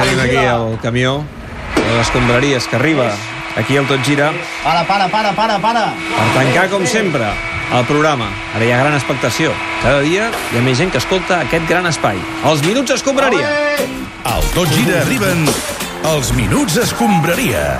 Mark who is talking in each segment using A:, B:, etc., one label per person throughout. A: el camió de les escombraries que arriba aquí al Tot Gira
B: Para, para, para, para, para.
A: per tancar, com sempre, el programa. Ara hi ha gran expectació. Cada dia hi ha més gent que escolta aquest gran espai. Els Minuts Escombraria.
C: Al Tot Gira arriben els Minuts Escombraria.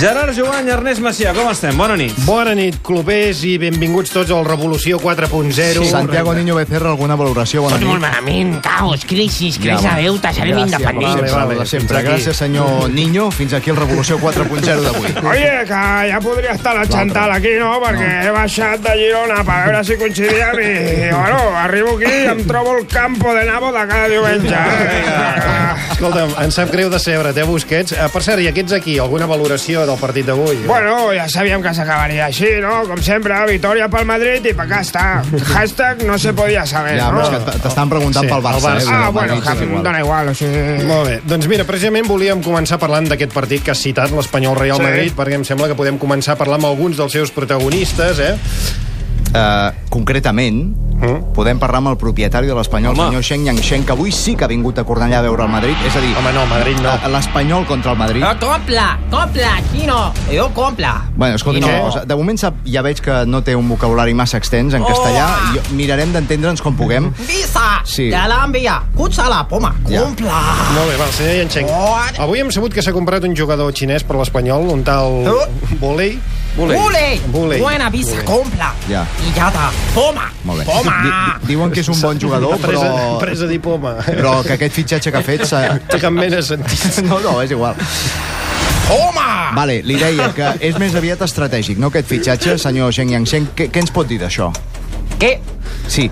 A: Gerard Joan i Ernest Macià, com estem? Bona nit.
D: Bona nit, clubers, i benvinguts tots al Revolució 4.0.
E: Sí, Santiago Niño Becerra, alguna valoració? Bona
F: Tot molt
E: nit.
F: malament, caos, crisis, creix
E: va.
F: a deute, serem
E: com
F: independents.
E: sempre,
D: vale,
E: de sempre.
D: fins aquí.
E: Gràcies, senyor Niño. Fins aquí el Revolució 4.0 d'avui.
G: Oye, que ja podria estar la Chantal aquí, no? Perquè he baixat de Girona per veure si coincidia amb... I, bueno, arribo aquí i em trobo el campo de nabo de cada diumenge. eh?
D: Escolta'm, em sap greu decebre, eh, Busquets? Eh, Per cert, i aquests aquí, alguna valoració del partit d'avui?
G: Bueno, ja sabíem que s'acabaria així, no? Com sempre, victòria pel Madrid i per acá està. Hashtag no se podia saber,
E: Ja, però és que
G: no?
E: t- t'estan preguntant
D: Sí,
E: pel Barça.
D: el Barça.
E: Eh?
G: Ah,
E: Madrid,
G: bueno,
E: és
G: que em
E: igual.
G: dona igual, o sigui...
D: Molt bé, doncs mira, precisament volíem començar parlant d'aquest partit que ha citat l'Espanyol Real
G: Sí.
D: Madrid, perquè em sembla que podem començar a parlar amb alguns dels seus protagonistes, eh?
E: Eh, concretament, podem parlar amb el propietari de l'Espanyol,
A: Home.
E: senyor Sheng Yang-Sheng, que avui sí que ha vingut a Cornellà a veure el Madrid. És a dir,
D: Home, no, Madrid no.
E: eh, l'Espanyol contra el Madrid.
F: No, copla, copla, Quino, jo copla.
E: Bueno, escolta,
F: I
E: una
F: no.
E: cosa. De moment sap, ja veig que no té un vocabulari massa extens en castellà.
F: Oh.
E: Jo, mirarem d'entendre'ns com puguem.
F: Visa,
E: Sí.
F: ja l'envia, cucha la poma,
E: Ja.
F: compla.
D: Molt bé, va, el senyor Yancheng.
F: What?
D: Avui hem sabut que s'ha comprat un jugador xinès per l'Espanyol, un tal
F: Oh.
D: Volei.
F: Bule,
D: Bule.
F: buena visa,
D: Bule.
F: compla.
E: Ja.
F: I ja ta, poma,
E: Molt bé.
F: poma.
E: Di- diuen que és un bon jugador, però,
D: Presa, presa diploma.
E: però que aquest fitxatge que ha fet... s'ha-
D: Té cap mena de sentit.
E: No, no, és igual.
F: Poma!
E: Vale, li deia que és més aviat estratègic, no aquest fitxatge, senyor Sheng Yang-Sheng. Què, què ens pot dir d'això?
F: Què?
E: Sí,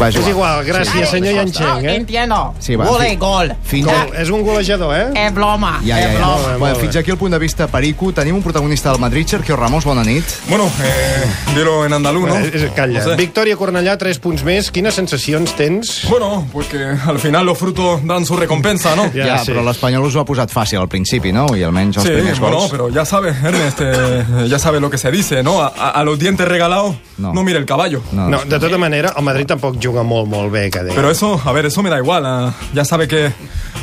E: va,
D: És igual, gràcies, senyor
F: No,
D: Yancheng, eh?
F: entiendo.
E: Sí, va,
F: Bule,
E: fi-
F: gol.
E: Fins,
D: Gol. És un golejador, eh?
F: És broma,
E: Ja, ja,
F: és
E: ja.
F: broma.
D: bé, molt
E: Bueno,
D: bé.
E: fins aquí el punt de vista perico. Tenim un protagonista del Madrid, Sergio Ramos, bona nit.
H: Bueno, eh, dilo en andaluz, ¿no?
D: Eh, Calla.
H: No sé.
D: Victòria Cornellà, 3 punts més. Quines sensacions tens?
H: Bueno, pues que al final los frutos dan su recompensa, ¿no?
D: Ja,
E: Ja,
D: sí.
E: però l'Espanyol us ho ha posat fàcil al principi, no? I almenys els
H: Sí,
E: primers
H: bueno,
E: gols.
H: pero ya sabes, Ernest, eh, ya sabes lo que se dice, ¿no? A, a- a los dientes regalados
E: No.
H: no. mira el caballo.
D: No, de tota manera, el Madrid tampoc juga molt, molt bé, que deia.
H: Pero eso, a ver, eso me da igual. ah, ya sabe que,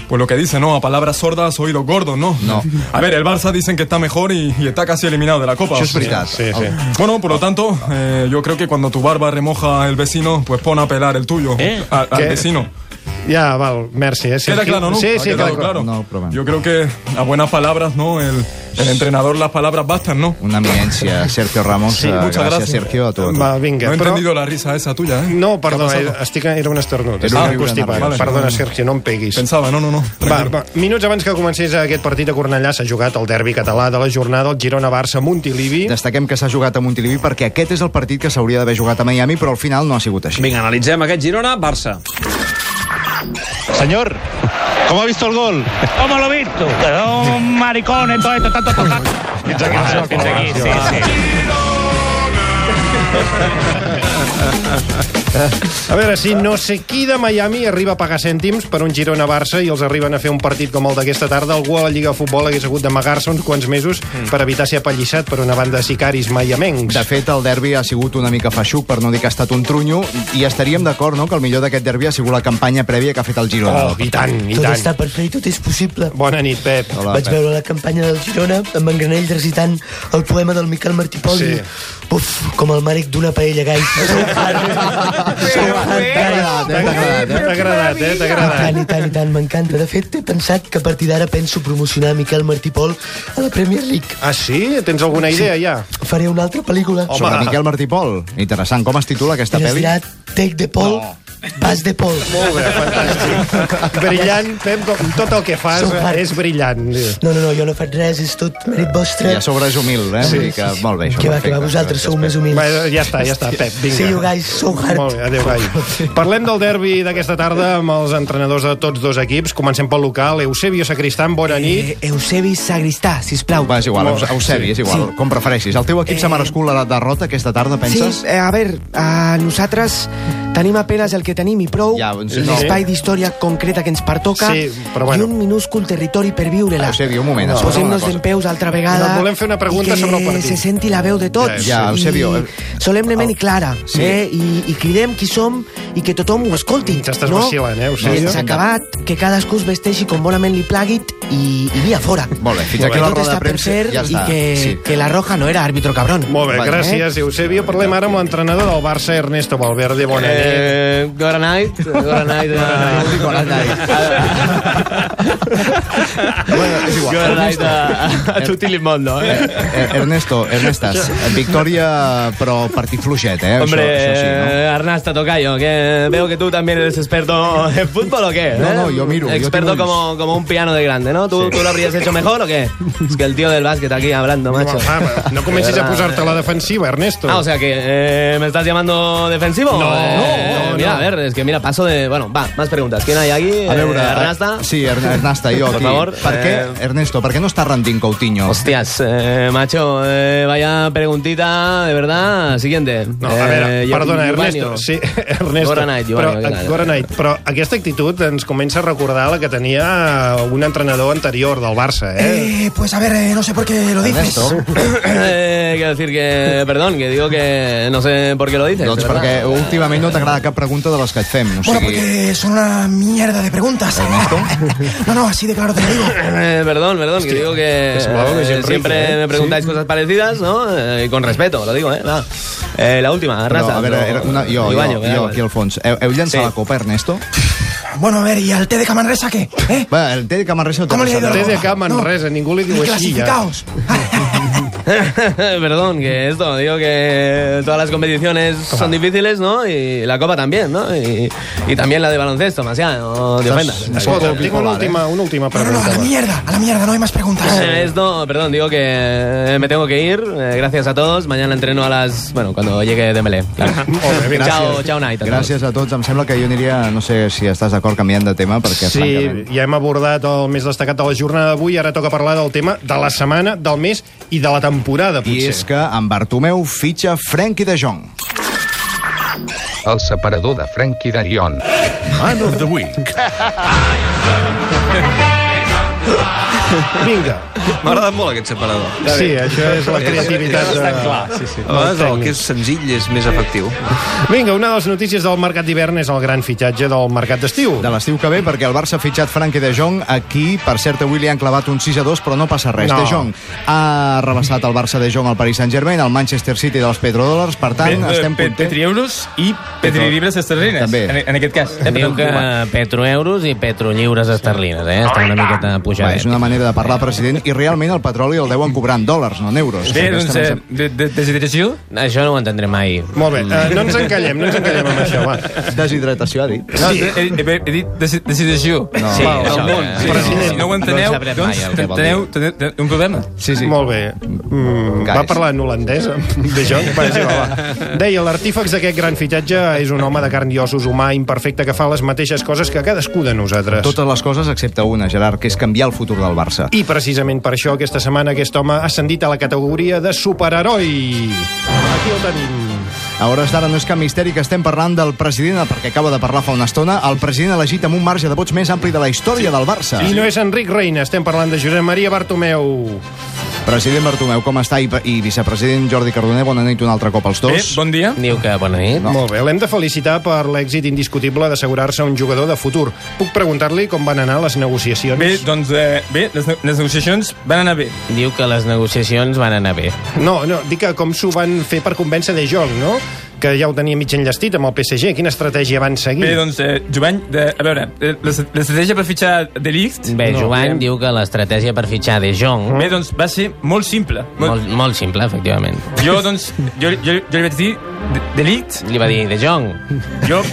H: pues lo que dice, ¿no? A palabras sordas, oídos gordos, ¿no?
E: No.
H: A ver, el Barça dicen que está mejor y, y está casi eliminado de la Copa.
E: Això és veritat.
D: Sí, sí.
H: Bueno, por lo tanto, eh, yo creo que cuando tu barba remoja el vecino, pues pon a pelar el tuyo
A: ¿Eh?
H: al, al
D: ¿Qué?
H: vecino.
D: Ja, val, merci. Eh? Sí,
H: Queda claro, ¿no?
D: Sí,
H: Ha
D: sí,
H: quedado
D: queda clar.
H: claro.
E: No, problema.
H: Yo creo que a buenas palabras, ¿no? El, el entrenador, las palabras bastan, ¿no?
E: Una eminència, Sergio Ramos.
H: Sí,
E: Eh,
H: muchas
E: gràcies,
H: gracias.
E: Sergio, a tu. A tu.
D: Va, vinga.
H: no he
D: però...
H: entendido la risa esa tuya, ¿eh?
D: No,
H: ¿Qué ha
D: perdona,
H: pasado?
D: estic, era un esternut.
E: Era
A: Ah,
D: Era
E: una
D: un constipat.
E: vale.
D: Perdona, Sergio, no em peguis.
H: Pensaba, no, no, no.
D: Va, va, minuts abans que comencés aquest partit a Cornellà s'ha jugat el derbi català de la jornada, el Girona-Barça-Montilivi.
E: Destaquem que s'ha jugat a Montilivi perquè aquest és el partit que s'hauria d'haver jugat a Miami, però al final no ha sigut així.
A: Vinga, analitzem aquest Girona-Barça.
I: Señor, ¿cómo ha visto el gol?
J: ¿Cómo lo he visto? Son maricones, todo esto, tanto, tanto.
D: A veure si no sé qui de Miami arriba a pagar cèntims per un Girona-Barça i els arriben a fer un partit com el d'aquesta tarda, algú a la Lliga de Futbol hagués hagut d'amagar-se uns quants mesos
E: Mm.
D: per evitar ser apallissat per una banda de sicaris maiamencs.
E: De fet, el derbi ha sigut una mica feixuc, per no dir que ha estat un trunyo, i estaríem d'acord, no?, que el millor d'aquest derbi ha sigut la campanya prèvia que ha fet el Girona.
D: Oh, i tant, i
K: Tot
D: tant.
K: està per fer i tot és possible.
D: Bona nit, Pep.
E: Hola,
K: Vaig
E: Pep.
K: veure la campanya del Girona amb en Granell recitant el poema del Miquel Martí Pol.
D: Sí.
K: i, Uf, com el mànec d'una paella gai. Sou
D: eh?
K: fan. Sou fan.
E: T'ha agradat, eh? T'ha agradat, eh?
D: T'ha agradat, eh? T'ha
K: I
D: agradat.
K: tant, i tant, i tant, m'encanta. De fet, he pensat que a partir d'ara penso promocionar Miquel Martí Pol a la Premier League.
D: Ah, sí? Tens alguna idea, ja?
K: Faré una altra pel·lícula.
D: Home,
E: Sobre Miquel Martí Pol. Interessant. Com es titula aquesta
K: I es
E: pel·li?
K: dirà Take the Pol, Pas de Pol.
D: Molt bé, fantàstic. Brillant, Pep, com tot el que fas
K: Super.
D: és brillant.
K: No, no, no, jo no faig res, és tot mèrit
E: I
K: vostre.
E: a sobre és humil, eh? Sí, Vull dir que, molt bé, això.
K: Que va, que va,
E: perfecte.
K: vosaltres sou més humils.
D: Va, ja està, Ah, ja està, Pep, vinga.
K: See you guys, so hard.
D: Molt bé, adéu, Gai. Parlem del derbi d'aquesta tarda amb els entrenadors de tots dos equips. Comencem pel local. Eusebio Sacristán, bona nit.
I: Eh, Eusebi Sagristà, sisplau.
E: Va, és igual,
L: Oh,
D: Molt bé,
E: Eusebi, és igual, com prefereixis. El teu equip s'ha merescut la derrota aquesta tarda,
I: Sí,
E: penses?
I: eh, a ver, a nosaltres tenim a penes el que
M: que tenim i prou,
E: Ja, doncs, no.
M: l'espai d'història concreta que ens pertoca
E: Sí, però bueno.
M: i un minúscul territori per viure-la.
E: Eusebi, Ah, un moment, escolta'm
M: Posem-nos
E: una cosa.
M: d'en peus altra vegada
E: No, volem fer una pregunta
M: i que
E: sobre el partit.
M: se senti la veu de tots.
E: Ja, ja, Eusebio, eh,
M: I solemnement i clara.
E: Sí.
M: Eh? I, I cridem qui som i que tothom ho escolti.
D: estàs vacilant, eh, Eusebio?
M: S'ha acabat, que cadascú es vesteixi com bonament li plagui i, i via fora.
E: Molt bé, fins
M: Que
E: aquí la
M: tot
E: roda de
M: està per
E: premsa,
M: fer
E: ja està,
M: I que,
E: sí.
M: que la Roja no era àrbitro cabrón.
D: Molt bé, gràcies, Eusebio. Parlem ara amb l'entrenador del Barça, Ernesto Valverde. Bona nit.
L: Eh, good night, good night, uh, good night.
E: Bueno, és igual.
L: Good night a, a
E: Ernesto.
L: tutti il mondo. Eh?
E: Eh, Ernesto, Ernestas, eh, victòria però partit fluixet, eh?
L: Hombre,
E: això, això sí, no?
L: eh, Arnasta Tocayo, que veo que tú también eres experto en fútbol o qué.
E: No,
L: eh?
E: no, yo miro, yo
L: Experto
E: tengo
L: como, como un piano de grande, ¿no? ¿Tú, ¿Tú lo habrías hecho mejor o qué? Es que el tío del básquet aquí hablando, macho.
D: Ah, no comencis a posar-te a la defensiva, Ernesto.
L: Ah, o sea que eh, me estás llamando defensivo. No, no, Mira, a ver, es que mira, paso de. Bueno, va, más preguntas. ¿Quién hay aquí?
E: A veure,
L: Eh, Arnasta.
E: eh, Sí, Ern- Ernasta, jo
L: Por
E: aquí.
L: favor,
E: per què,
L: eh,
E: Ernesto, per què no està rendint Coutinho?
L: Hostias, eh, macho, eh, vaya preguntita, de verdad. Siguiente. Eh,
D: No, a veure, perdona, Ernesto. Sí, Ernesto.
L: Good night,
D: però,
L: Giovanni, good night.
D: good night. Però aquesta actitud ens comença a recordar la que tenia un entrenador anterior del Barça, eh?
M: Eh, pues a ver, eh, no sé por qué lo dices.
L: Eh, quiero decir que, perdón, que digo que no sé por qué lo dices.
E: Doncs
L: de verdad.
E: perquè últimament no t'agrada cap pregunta de les que et fem. O
M: Bueno,
E: sigui,
M: porque Eh, son una mierda de preguntas. No, no, así de claro te lo digo.
L: Eh, perdón, perdón, que digo que
M: que semblaba Luis
L: eh,
M: Enrique,
L: siempre
M: ¿eh?
L: me preguntáis cosas parecidas, ¿no? Eh, y con respeto, lo digo, ¿eh? Va. Eh, la última,
E: però,
L: raza.
E: a veure, era una, jo, jo, jo, aquí al fons. Eh, Heu, heu llançat la copa, Ernesto?
M: Bueno, a ver, ¿y al té de Camanresa qué? ¿Eh?
E: Va, el té de Camanresa...
M: ¿Cómo le ha ido a la
E: Té de
M: Roma?
D: Camanresa, ningú li diu
M: Ni
D: així, ja.
M: clasificaos.
L: Perdón, que esto, digo que todas las competiciones son difíciles, ¿no? Y la copa también, ¿no? Y, y también la de baloncesto, demasiado, no te
D: Doncs
L: ofendas.
D: Escolta, tinc una última, una última pregunta. eh? No, no, a la
M: mierda, a la mierda, no hay más preguntas.
L: Eh, Esto, perdón, digo que eh, me tengo que ir. Eh, gracias a todos. Mañana entreno a las. Bueno, cuando llegue Dembélé. Claro. chao, chao, Night. a todos.
E: Gràcies a tots. Em sembla que jo aniria, no sé si estàs d'acord canviant de tema, perquè
D: Sí,
E: francament...
D: ja hem abordat el més destacat de la jornada d'avui, ara toca parlar del tema de la setmana, del mes i de la temporada,
E: I
D: potser.
E: és que en Bartomeu fitxa Frenkie de Jong.
N: El separador de Frenkie de Rion.
C: Man of the Week.
D: Vinga.
A: M'ha agradat molt aquest separador.
D: Sí, això és la
A: És,
D: creativitat
A: és,
D: de-
A: és clar, sí, sí.
D: del
A: A vegades el
D: tècnic.
A: que és senzill és més efectiu.
D: Vinga, una de les notícies del mercat d'hivern és el gran fitxatge del mercat d'estiu.
E: De l'estiu que ve, perquè el Barça ha fitxat Frenkie de Jong. Aquí, per cert, avui li han clavat un 6 a 2, però no passa res.
D: No.
E: De Jong ha rebassat el Barça de Jong al Paris Saint-Germain, al Manchester City dels petrodòlars, per tant,
H: Bé, eh,
E: estem
H: pe-
E: contents.
H: Petrieuros i petrilibres esterlines,
E: També.
H: en, en aquest cas.
O: Diu que eh, petroeuros i petrolliures esterlines, eh? Està una miqueta
E: Va, és
O: pujadet.
E: una manera de parlar, president, i realment el petroli el deuen cobrar en dòlars, no en euros.
O: Bé, doncs,
E: Aquesta no
O: eh,
E: és-
H: De, de, deshidratació?
O: Això no ho entendré mai.
D: Molt bé, eh, no ens encallem, no ens encallem amb això, va.
E: Deshidratació, ha dit.
H: No, he, he, he, he dit desi- decisió.
E: No.
D: Sí,
H: Val,
D: això,
H: del món.
D: eh,
H: Sí,
D: sí,
H: però
D: sí,
H: si
D: sí.
H: no ho enteneu,
D: No en sabrem
H: doncs
D: mai el que vol
H: teniu, teniu, teniu un problema.
D: Sí, sí. Molt bé. Mm, va parlar en holandès, amb de Jong. Va, sí, va, va. Deia, l'artífex d'aquest gran fitxatge és un home de carn i ossos humà imperfecte que fa les mateixes coses que cadascú de nosaltres.
E: Totes les coses excepte una, Gerard, que és canviar el futur del Barça.
D: I precisament per això aquesta setmana aquest home ha ascendit a la categoria de superheroi. Aquí el tenim.
E: A hores d'ara no és cap misteri que estem parlant del president, perquè acaba de parlar fa una estona, el president elegit amb un marge de vots més ampli de la història del Barça.
D: I no és Enric Reina, estem parlant de Josep Maria Bartomeu.
E: President Bartomeu, com està? I, i vicepresident Jordi Cardoner, bona nit un altre cop als dos.
P: Eh?
H: bon dia.
O: Diu que bona nit.
D: No. Molt bé, l'hem de felicitar per l'èxit indiscutible d'assegurar-se un jugador de futur. Puc preguntar-li com van anar les negociacions?
H: Bé, doncs, eh, bé, les, ne- les negociacions van anar bé.
O: Diu que les negociacions van anar bé.
D: No, no, dic que com s'ho van fer per convèncer De Jong, no? Que ja ho tenia mig enllestit amb el PSG. Quina estratègia van seguir?
H: Bé, doncs, eh, Jovany, de, a veure, eh, l'es- l'estratègia per fitxar de Ligt...
O: Bé, no, Joan
H: eh,
O: diu que l'estratègia per fitxar De Jong...
H: Bé, doncs, va ser molt simple.
O: Molt, molt simple, efectivament.
H: Jo, doncs, jo, jo, jo li vaig dir de, de Ligt...
O: Li va dir De Jong.
H: Jo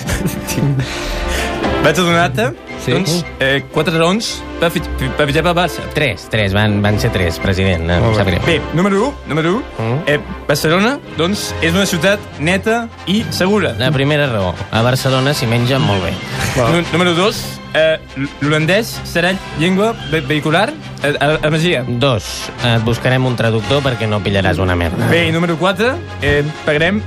H: vaig adonar-te, sí.
O: Sí.
H: doncs, eh, quatre raons per, fit, per fitxar pel Barça.
O: Tres, tres, van, van ser tres, president. No, em sap greu.
H: Bé, número 1, número 1. Mm. Eh, Barcelona, doncs, és una ciutat neta i segura.
O: La primera raó, a Barcelona s'hi menja molt bé.
H: Nú- Número 2, eh, l- l'holandès serà llengua ve vehicular a, a, a Masia.
O: Dos, et buscarem un traductor perquè no pillaràs una merda.
H: Bé, i número 4, eh, pagarem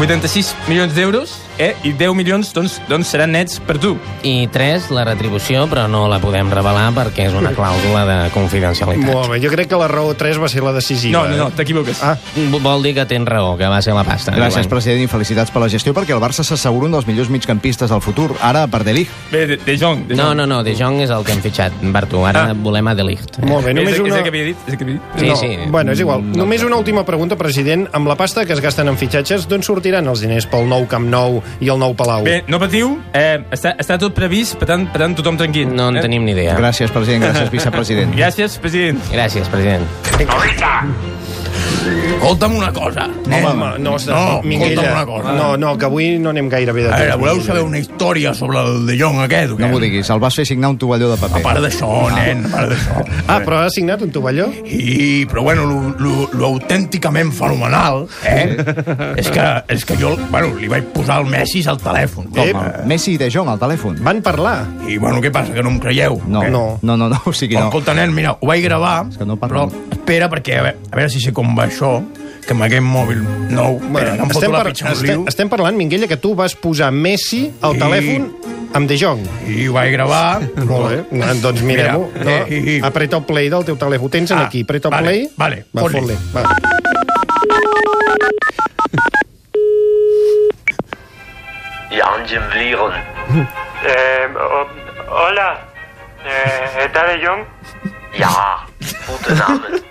H: 86 milions d'euros eh? i 10 milions doncs, doncs seran nets per tu.
O: I tres, la retribució, però no la podem revelar perquè és una clàusula
P: eh,
O: de confidencialitat.
D: Molt bé, jo crec que la raó 3 va ser la decisiva.
O: No, no, no,
H: t'equivoques.
D: Ah.
O: Vol dir que tens raó, que va ser la pasta.
E: Gràcies,
O: enguany.
E: president, i felicitats per la gestió, perquè el Barça s'assegura un dels millors migcampistes del futur, ara per Delig.
H: Bé, de, de Jong. De
O: No, no, no, De Jong és el que hem fitxat, Bartu. Ara volem a De Ligt.
D: Molt bé, només
H: és, el-
D: una...
H: és el que havia dit? És el que havia dit?
O: Sí,
D: no.
O: sí.
D: Bueno, és igual. No, Només una última pregunta, president. Amb la pasta que es gasten en fitxatges, d'on sortiran els diners pel nou Camp Nou i el nou Palau?
H: Bé, no patiu, eh, està, està tot previst, per tant, per tant tothom tranquil. No en eh?
O: tenim ni idea.
E: Gràcies, president, gràcies, vicepresident.
H: Gràcies, president.
O: Gràcies, president.
P: Escolta'm una cosa.
D: Home, home, no, no,
P: escolta'm
D: Minguella,
P: una cosa.
D: no, no, que avui no anem gaire bé de
P: A veure,
D: temps.
P: voleu saber una història sobre el de Jong aquest? o
E: No
P: què?
E: m'ho diguis, el vas fer signar un tovalló de paper.
P: A part d'això, nen, a part d'això.
D: Ah, però ha signat un tovalló?
P: I, però bueno, lo, lo, lo autènticament fenomenal, eh? és, que, és que jo, bueno, li vaig posar el Messi al telèfon. eh?
E: Com, el Messi i De Jong al telèfon.
D: Van parlar.
P: I, bueno, què passa, que no em creieu?
E: No,
P: Eh?
E: no, no, no, no o sigui,
P: No.
E: no.
P: Escolta, nen, mira, ho vaig gravar,
E: És que no
P: però
E: parlo.
P: espera, perquè a veure, a veure si sé com va això, que amb aquest mòbil nou... Espera, que em foto
D: estem,
P: la
D: par
P: pitxa en un
D: estem,
P: riu.
D: estem parlant, Minguella, que tu vas posar Messi al
P: I-
D: telèfon amb De Jong.
P: I ho vaig gravar.
D: Molt bé, no, doncs mirem-ho.
P: Mira,
D: No?
P: eh, i- i-
D: Apreta el play del teu telèfon. Ho tens
P: Ah,
D: aquí, apreta el
P: vale,
D: play.
P: vale,
D: va,
P: fot-li.
D: fot-li. Va.
Q: Ja ens enviren.
R: Eh, o- hola, eh, ¿está de Jong?
Q: Ja, guten Abend.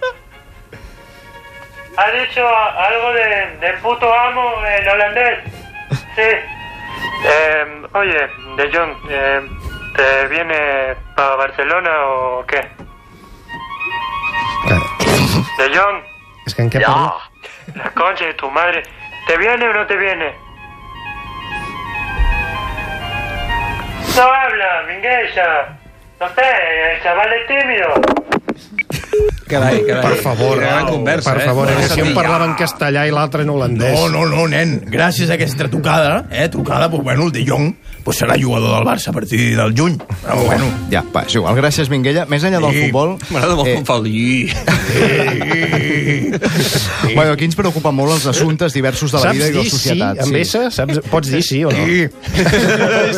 R: ¿Ha dicho a- algo de, del puto amo en holandés? Sí. Eh, oye, de Jong, eh, ¿te viene para Barcelona o qué? De Jong,
D: És que en què
R: Ja.
D: parla?
R: la concha de tu madre, ¿te viene o no te viene? No habla, Minguella. No sé, el chaval es tímido.
A: Carai, carai.
D: Per favor,
A: gran conversa,
D: per
A: eh?
D: favor, eh? si un
P: Sabrà.
D: parlava en castellà i l'altre en holandès.
P: No, no, no, nen. Gràcies a aquesta trucada, eh, trucada, pues, bueno, el de Jong pues, serà jugador del Barça a partir del juny. Però, bueno,
E: Ja, va, és igual. Gràcies, Minguella. Més enllà del
P: Sí.
E: futbol...
P: M'agrada
D: Eh,
P: molt com
A: fa el
E: Bueno, aquí ens preocupen molt els assumptes diversos de la vida i de la societat.
D: sí, amb S? Saps, pots dir sí o no?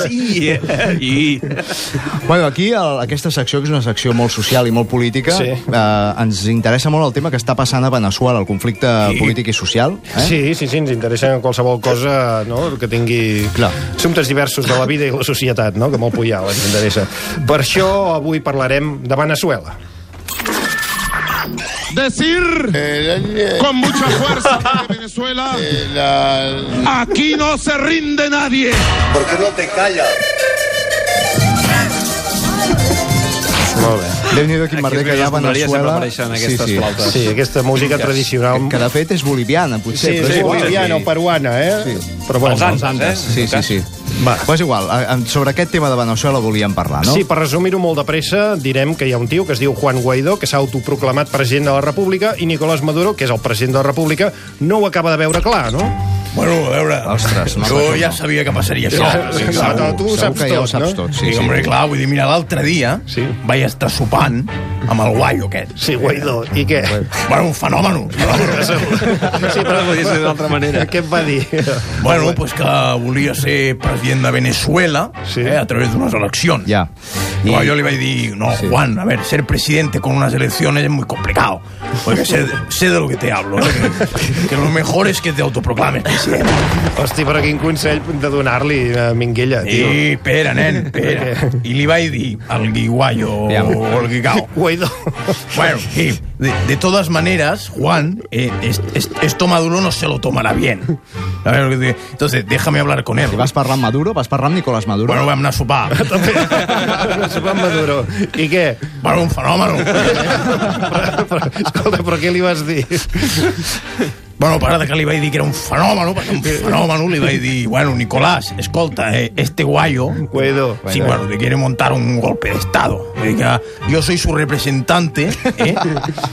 P: Sí. I...
E: Bueno, aquí el, aquesta secció, que és una secció molt social i molt política,
D: Sí.
E: eh, ens interessa molt el tema que està passant a Venezuela, el conflicte polític i social. Eh?
D: Sí, sí, sí, ens interessa qualsevol cosa no? que tingui Clar. assumptes diversos de la vida i la societat, no? que molt puyal ens interessa. Per això avui parlarem de Venezuela.
S: decir con mucha fuerza de Venezuela, aquí no se rinde nadie. ¿Por qué no te callas?
D: Molt bé.
E: Déu-n'hi-do quin merder
D: Aquests
E: que hi ha a
D: vídeos d'Honduras sempre
E: Venezuela.
D: apareixen, aquestes flautes. Sí, aquesta música tradicional.
E: Que, que de fet és boliviana, potser.
D: Sí,
E: però
D: sí,
E: és
D: boliviana o peruana, eh? Sí. Però bueno,
E: eh? Sí, sí, sí.
D: Va.
E: Però és igual, a- a- sobre aquest tema de Venezuela volíem parlar, no?
D: Sí, per resumir-ho molt de pressa, direm que hi ha un tio que es diu Juan Guaidó, que s'ha autoproclamat president de la República, i Nicolás Maduro, que és el president de la República, no ho acaba de veure clar, no?
P: Bueno, a veure...
E: Ostres,
P: jo ja sabia que passaria això.
D: Ja, sí, clar, tu
P: Segur
D: ho saps
P: que ja ho
D: tot,
P: saps
D: no?
P: tot,
D: Sí,
P: Sí,
D: sí.
P: Hombre, clar, vull dir, mira, l'altre dia sí. vaig estar sopant amb el guaio aquest.
D: Sí, Guaidó, i què?
P: Bueno, un fenòmeno.
D: Sí, però
P: podria ser d'altra manera.
D: Què et va dir?
P: Bueno, pues que volia ser president de Venezuela sí. eh, a través d'unes eleccions.
E: Ja.
P: I... No, yo le iba a decir, no, Juan, a ver, ser presidente con unas elecciones es muy complicado. Porque sé, sé de lo que te hablo. ¿eh? Que, que lo mejor es que te autoproclames presidente.
D: Hosti, però quin consell de donar-li a Minguella, tio.
P: I, espera, nen, espera. I li vaig dir al guiguayo o al guigao.
D: Guaidó.
P: Bueno, y de, de todas maneras, Juan, eh, es- es- esto Maduro no se lo tomará bien. A ver, lo que te- entonces, déjame hablar con él.
E: Si vas parlar amb Maduro, vas parlar amb Nicolás Maduro.
P: Bueno, vam anar a sopar.
D: Juan Maduro. I què?
P: Bueno, un fenòmeno.
D: Escolta, però què li vas dir?
P: Bueno, parada que li vaig dir que era un fenòmeno, perquè un fenòmeno li vaig dir, bueno, Nicolás, escolta, eh, este guayo...
D: Guaidó.
P: Sí,
D: Guaidó.
P: bueno, te quiere montar un golpe de Estado. Eh, que Yo soy su representante, ¿eh?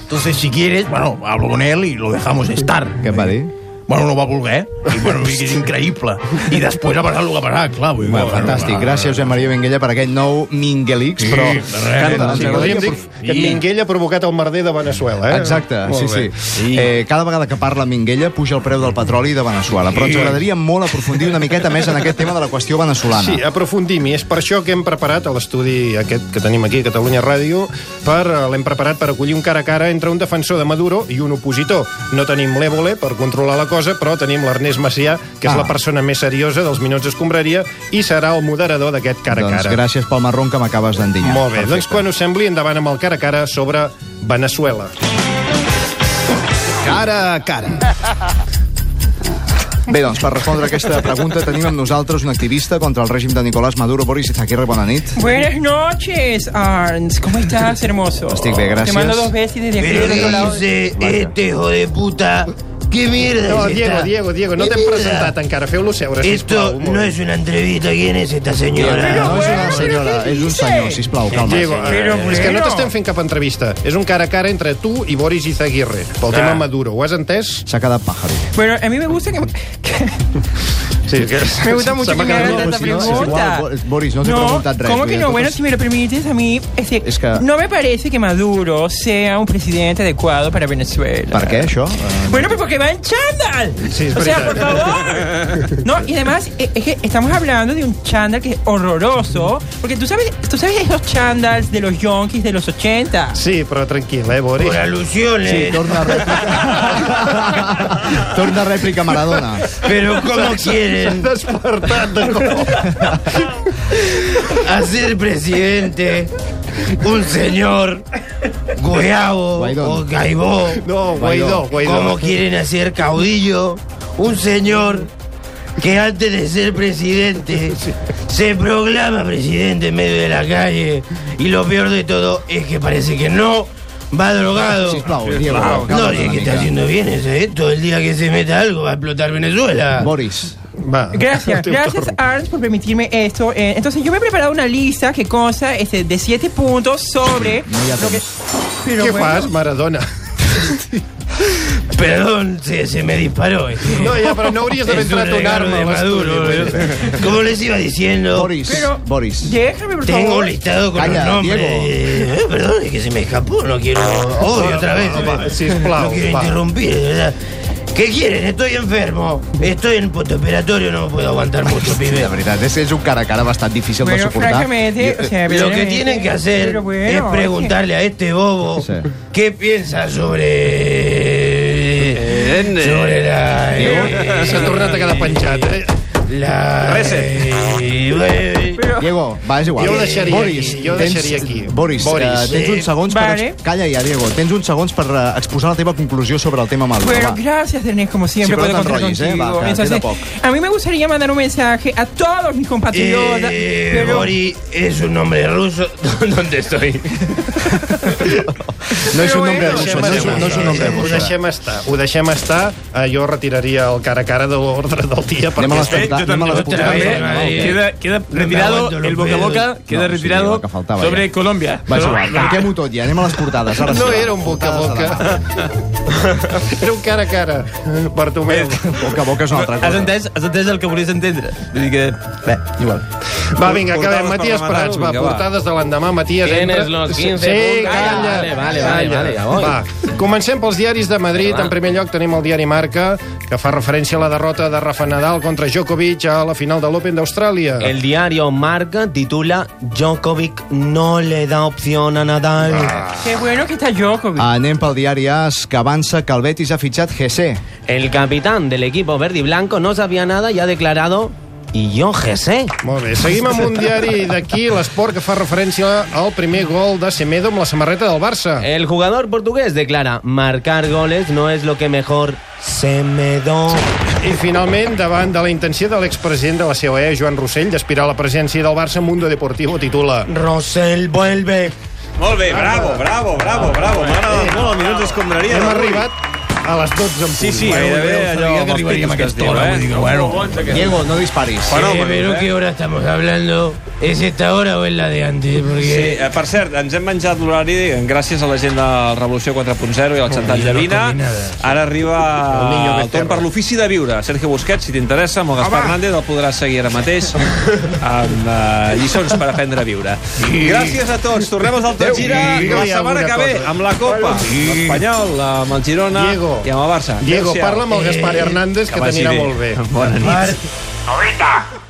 P: Entonces, si quieres, bueno, hablo con él y lo dejamos estar.
E: Què et va dir?
P: Bueno, no va voler, eh? i bueno, és increïble. I després ha passat el que ha
D: ah,
P: passat, clar. Vull, dir,
E: Bueno, fantàstic. Gràcies, Josep Maria Benguella, per aquest nou Minguelix, però...
D: Canta, sí, podríem dir que Minguell ha provocat el merder de Venezuela. Eh?
E: Exacte,
D: Molt
E: sí,
D: bé.
E: sí. Eh, cada vegada que parla Minguella puja el preu del petroli de Venezuela, però ens
D: Sí.
E: agradaria molt aprofundir una miqueta més en aquest tema de la qüestió venezolana.
D: Sí, aprofundim-hi. És per això que hem preparat a l'estudi aquest que tenim aquí a Catalunya Ràdio, per eh, l'hem preparat per acollir un cara a cara entre un defensor de Maduro i un opositor. No tenim l'Évole per controlar la cosa, però tenim l'Ernest Macià, que és
E: Ah.
D: la persona més seriosa dels Minuts Escombraria, i serà el moderador d'aquest cara a
E: Doncs
D: cara.
E: gràcies pel marron que m'acabes d'endinyar.
D: Molt bé, doncs quan us sembli, endavant amb el cara a cara sobre Venezuela.
E: Cara a cara. Bé, doncs, per respondre a aquesta pregunta tenim amb nosaltres un activista contra el règim de Nicolás Maduro. Boris Izaguirre, bona nit.
T: Buenas noches, Arns. ¿Cómo estás, hermoso?
E: Estoy bien,
T: Te
E: gracias.
T: mando dos veces desde aquí
E: Pero
T: del otro lado.
E: dice
T: este hijo de puta.
K: ¿Qué mierda
D: No,
K: es
D: Diego,
K: esta?
D: Diego, Diego, no
K: ¿Qué
D: t'hem
K: mierda?
D: presentat encara. Feu-lo seure, sisplau.
K: Esto no es una entrevista. ¿Quién es esta señora?
E: No és una senyora, és un senyor, sisplau, calma.
D: Diego,
K: Però,
D: eh, és que no
K: bueno.
D: t'estem fent cap entrevista. És un cara a cara entre tu i Boris Izaguirre. Pel
E: Ah.
D: tema Maduro, ho has entès?
E: S'ha quedat pàjaro.
T: Bueno, a mí me gusta que...
D: Sí, que...
T: Me gusta mucho
E: Se m'ha
T: que me
E: quedat
T: hagan
E: molt,
T: tanta
E: si no, és
T: pregunta.
E: igual, Bo- Boris, no t'he preguntat res.
T: ¿cómo
E: vull
T: que
E: dir,
T: no?
E: tot
T: Bueno,
E: és-
T: si me lo permites, a mí... Es que,
E: Es que-
T: No me parece que Maduro sea un presidente adecuado para Venezuela.
E: Per què, això?
T: Bueno, pues porque va en chándal. o sea, por favor. No, y además eh, es que estamos hablando de un chándal que es horroroso. Porque tú sabes, tú sabes esos chándals de los yonkis de los 80.
D: Sí, però tranquil, eh, Boris.
T: Por alusiones.
E: Sí, torna a rèplica. torna a rèplica Maradona.
K: Pero ¿cómo quieren? A ser presidente, un señor Guayabo o Gaibó.
D: No, Guaidó, Guaidó.
K: ¿Cómo quieren hacer caudillo? Un señor que antes de ser presidente se proclama presidente en medio de la calle. Y lo peor de todo es que parece que no va drogado.
E: Sisplau, Diego,
K: no,
E: calma't
K: es
E: una
K: que está
E: mica.
K: haciendo bien ese, ¿eh? Todo el día que se meta algo va a explotar Venezuela.
E: Boris.
D: Va.
T: Gracias, gracias Arns por permitirme esto. Eh, entonces yo me he preparado una lista que consta este, de siete puntos sobre... lo que- Pero
D: Què
T: bueno.
D: fas, Maradona?
K: Perdón, se, se me disparó. eh.
D: No, ya, pero no habrías de haber
K: Es un
D: entrado un
K: regalo
D: arma
K: de
D: al
K: Maduro,
D: estudio,
K: eh.
D: pues.
K: Como les iba diciendo,
E: Boris, Boris.
T: Déjame, por
K: tengo
T: favor.
K: listado con
E: Calla,
K: los nombres.
E: Diego.
K: Eh, perdón, es que se me escapó. No quiero. Odio otra vez. eh.
D: sisplau,
K: no quiero
D: va.
K: interrumpir, de verdad. ¿Qué quieren? Estoy enfermo. Estoy en postoperatorio, no puedo aguantar mucho, pibe.
E: De veritat, és, és un cara a cara bastant difícil de
K: Bueno,
E: suportar.
K: francamente,
E: Jo-
K: o sea, Lo que tienen que hacer
E: Pero bueno,
K: es preguntarle a este bobo
E: Sí.
K: qué piensa sobre. sobre la. eh,
D: S'ha tornat a quedar penjat, eh?
K: La... Eh,
E: Diego, va, és igual.
D: Jo ho deixaria
E: Boris,
D: aquí, jo ho
E: tens-
D: deixaria aquí.
E: Boris,
D: Boris.
E: eh, tens
D: Sí.
E: uns segons
T: Vale.
E: per... ex- Calla ja, Diego. Tens uns segons per eh, exposar la teva conclusió sobre el tema Maduro.
T: Bueno,
E: va.
T: gracias, Ernest, como siempre.
E: Sí,
T: puedo
E: pero no te
T: contar
E: enrolles, ¿eh?
T: contigo.
E: Va, queda
T: Entonces,
E: poco.
T: a mí me gustaría mandar un mensaje a todos mis compatriotas.
K: Eh,
T: Ah, pero-
K: Bori es un nombre ruso. ¿Dónde estoy?
E: No és
D: Però
E: un nombre
D: bueno,
E: russo,
D: deixem-
E: no és, un- no és un nombre
D: Ho
E: russo.
D: deixem estar, ho deixem estar. Eh, jo retiraria el cara a cara de l'ordre del dia. perquè-
E: Anem a les porta-
D: Eh, jo
E: anem a les
D: també-
E: portades.
D: també-
E: Madrid.
U: Queda, queda retirado
E: aguanto los
U: el boca a boca,
E: pedos.
U: queda
E: No, sí,
U: retirado
E: el que faltava,
U: sobre
E: ja.
U: Colombia.
E: Va, és igual, tanquem-ho tot ja, anem a les portades. Ara
D: No
E: sí, va.
D: era un boca a boca. Era un cara a cara. Bartomeu.
E: Boca a boca és una altra
U: Has
E: cosa.
U: entès, has entès el que volies entendre. Vull dir que... Bé, igual.
D: Va, vinga, acabem.
U: Portades
D: Matías
U: per rematar-ho,
D: Prats, va,
U: vinga, va.
D: portades de l'endemà. Matías,
U: Tienes
D: entra.
U: los 15
D: Sí,
U: puntos.
D: calla.
U: Vale, vale,
D: calla.
U: vale, vale, ja voy.
D: Va, comencem pels diaris de Madrid. En primer lloc tenim el diari Marca, que fa referència a la derrota de Rafa Nadal contra Djokovic a la final de l'Open d'Austràlia.
L: El diario Marca titula Djokovic no le da opción a Nadal.
D: Ah.
T: Qué bueno que está Djokovic.
E: Anem pel diari AS, que avança que el Betis ha fitxat GC.
L: El capitán del equipo verde y blanco no sabía nada y ha declarado y yo Jesse.
D: Molt bé, seguim amb un diari d'aquí, l'esport, que fa referència al primer gol de Semedo amb la samarreta del Barça.
L: El jugador portugués declara marcar goles no es lo que mejor se me da.
D: I finalment, davant de la intenció de l'expresident de la COE, Joan Rossell, d'aspirar a la presidència del Barça, Mundo Deportivo titula...
K: Rossell vuelve.
A: Molt bé, bravo, bravo, bravo, bravo. M'ha agradat molt el minut d'escombraria.
D: Hem
A: d'avui.
D: arribat a les 12 en punt.
A: Sí, sí,
D: Bueno,
A: gairebé
D: Déu,
A: allò...
D: sabia
A: amb
D: que
A: els
D: arribaríem
A: pitos
D: a aquesta
A: que es
D: hora,
A: diu,
D: vull dir que,
A: eh?
D: bueno.
A: Molt bons, aquests.
E: Diego, no disparis.
K: Eh, pero ¿qué hora estamos hablando? ¿Es esta hora o es la de antes? Porque...
A: Sí, eh, per cert, ens hem menjat l'horari gràcies a la gent de Revolució 4.0 i al Xantal Llavina. Ara arriba el torn per l'ofici de viure. Sergio Busquets, si t'interessa, amb el Gaspar Hernández el podràs seguir ara mateix amb eh, lliçons per aprendre a viure. Gràcies a tots. Tornem als Alta
F: Adéu.
A: Gira la
F: Digue-li
A: setmana que
F: alguna
A: ve
F: cosa.
A: amb la Copa, l'Espanyol, amb el Girona
D: Diego.
A: i amb el Barça. Adéu-siau.
D: Diego,
A: Eh,
D: parla amb el Gaspar Hernández, que
A: vagi
D: t'anirà molt bé.
A: Bona nit.
S: ¡Ahorita!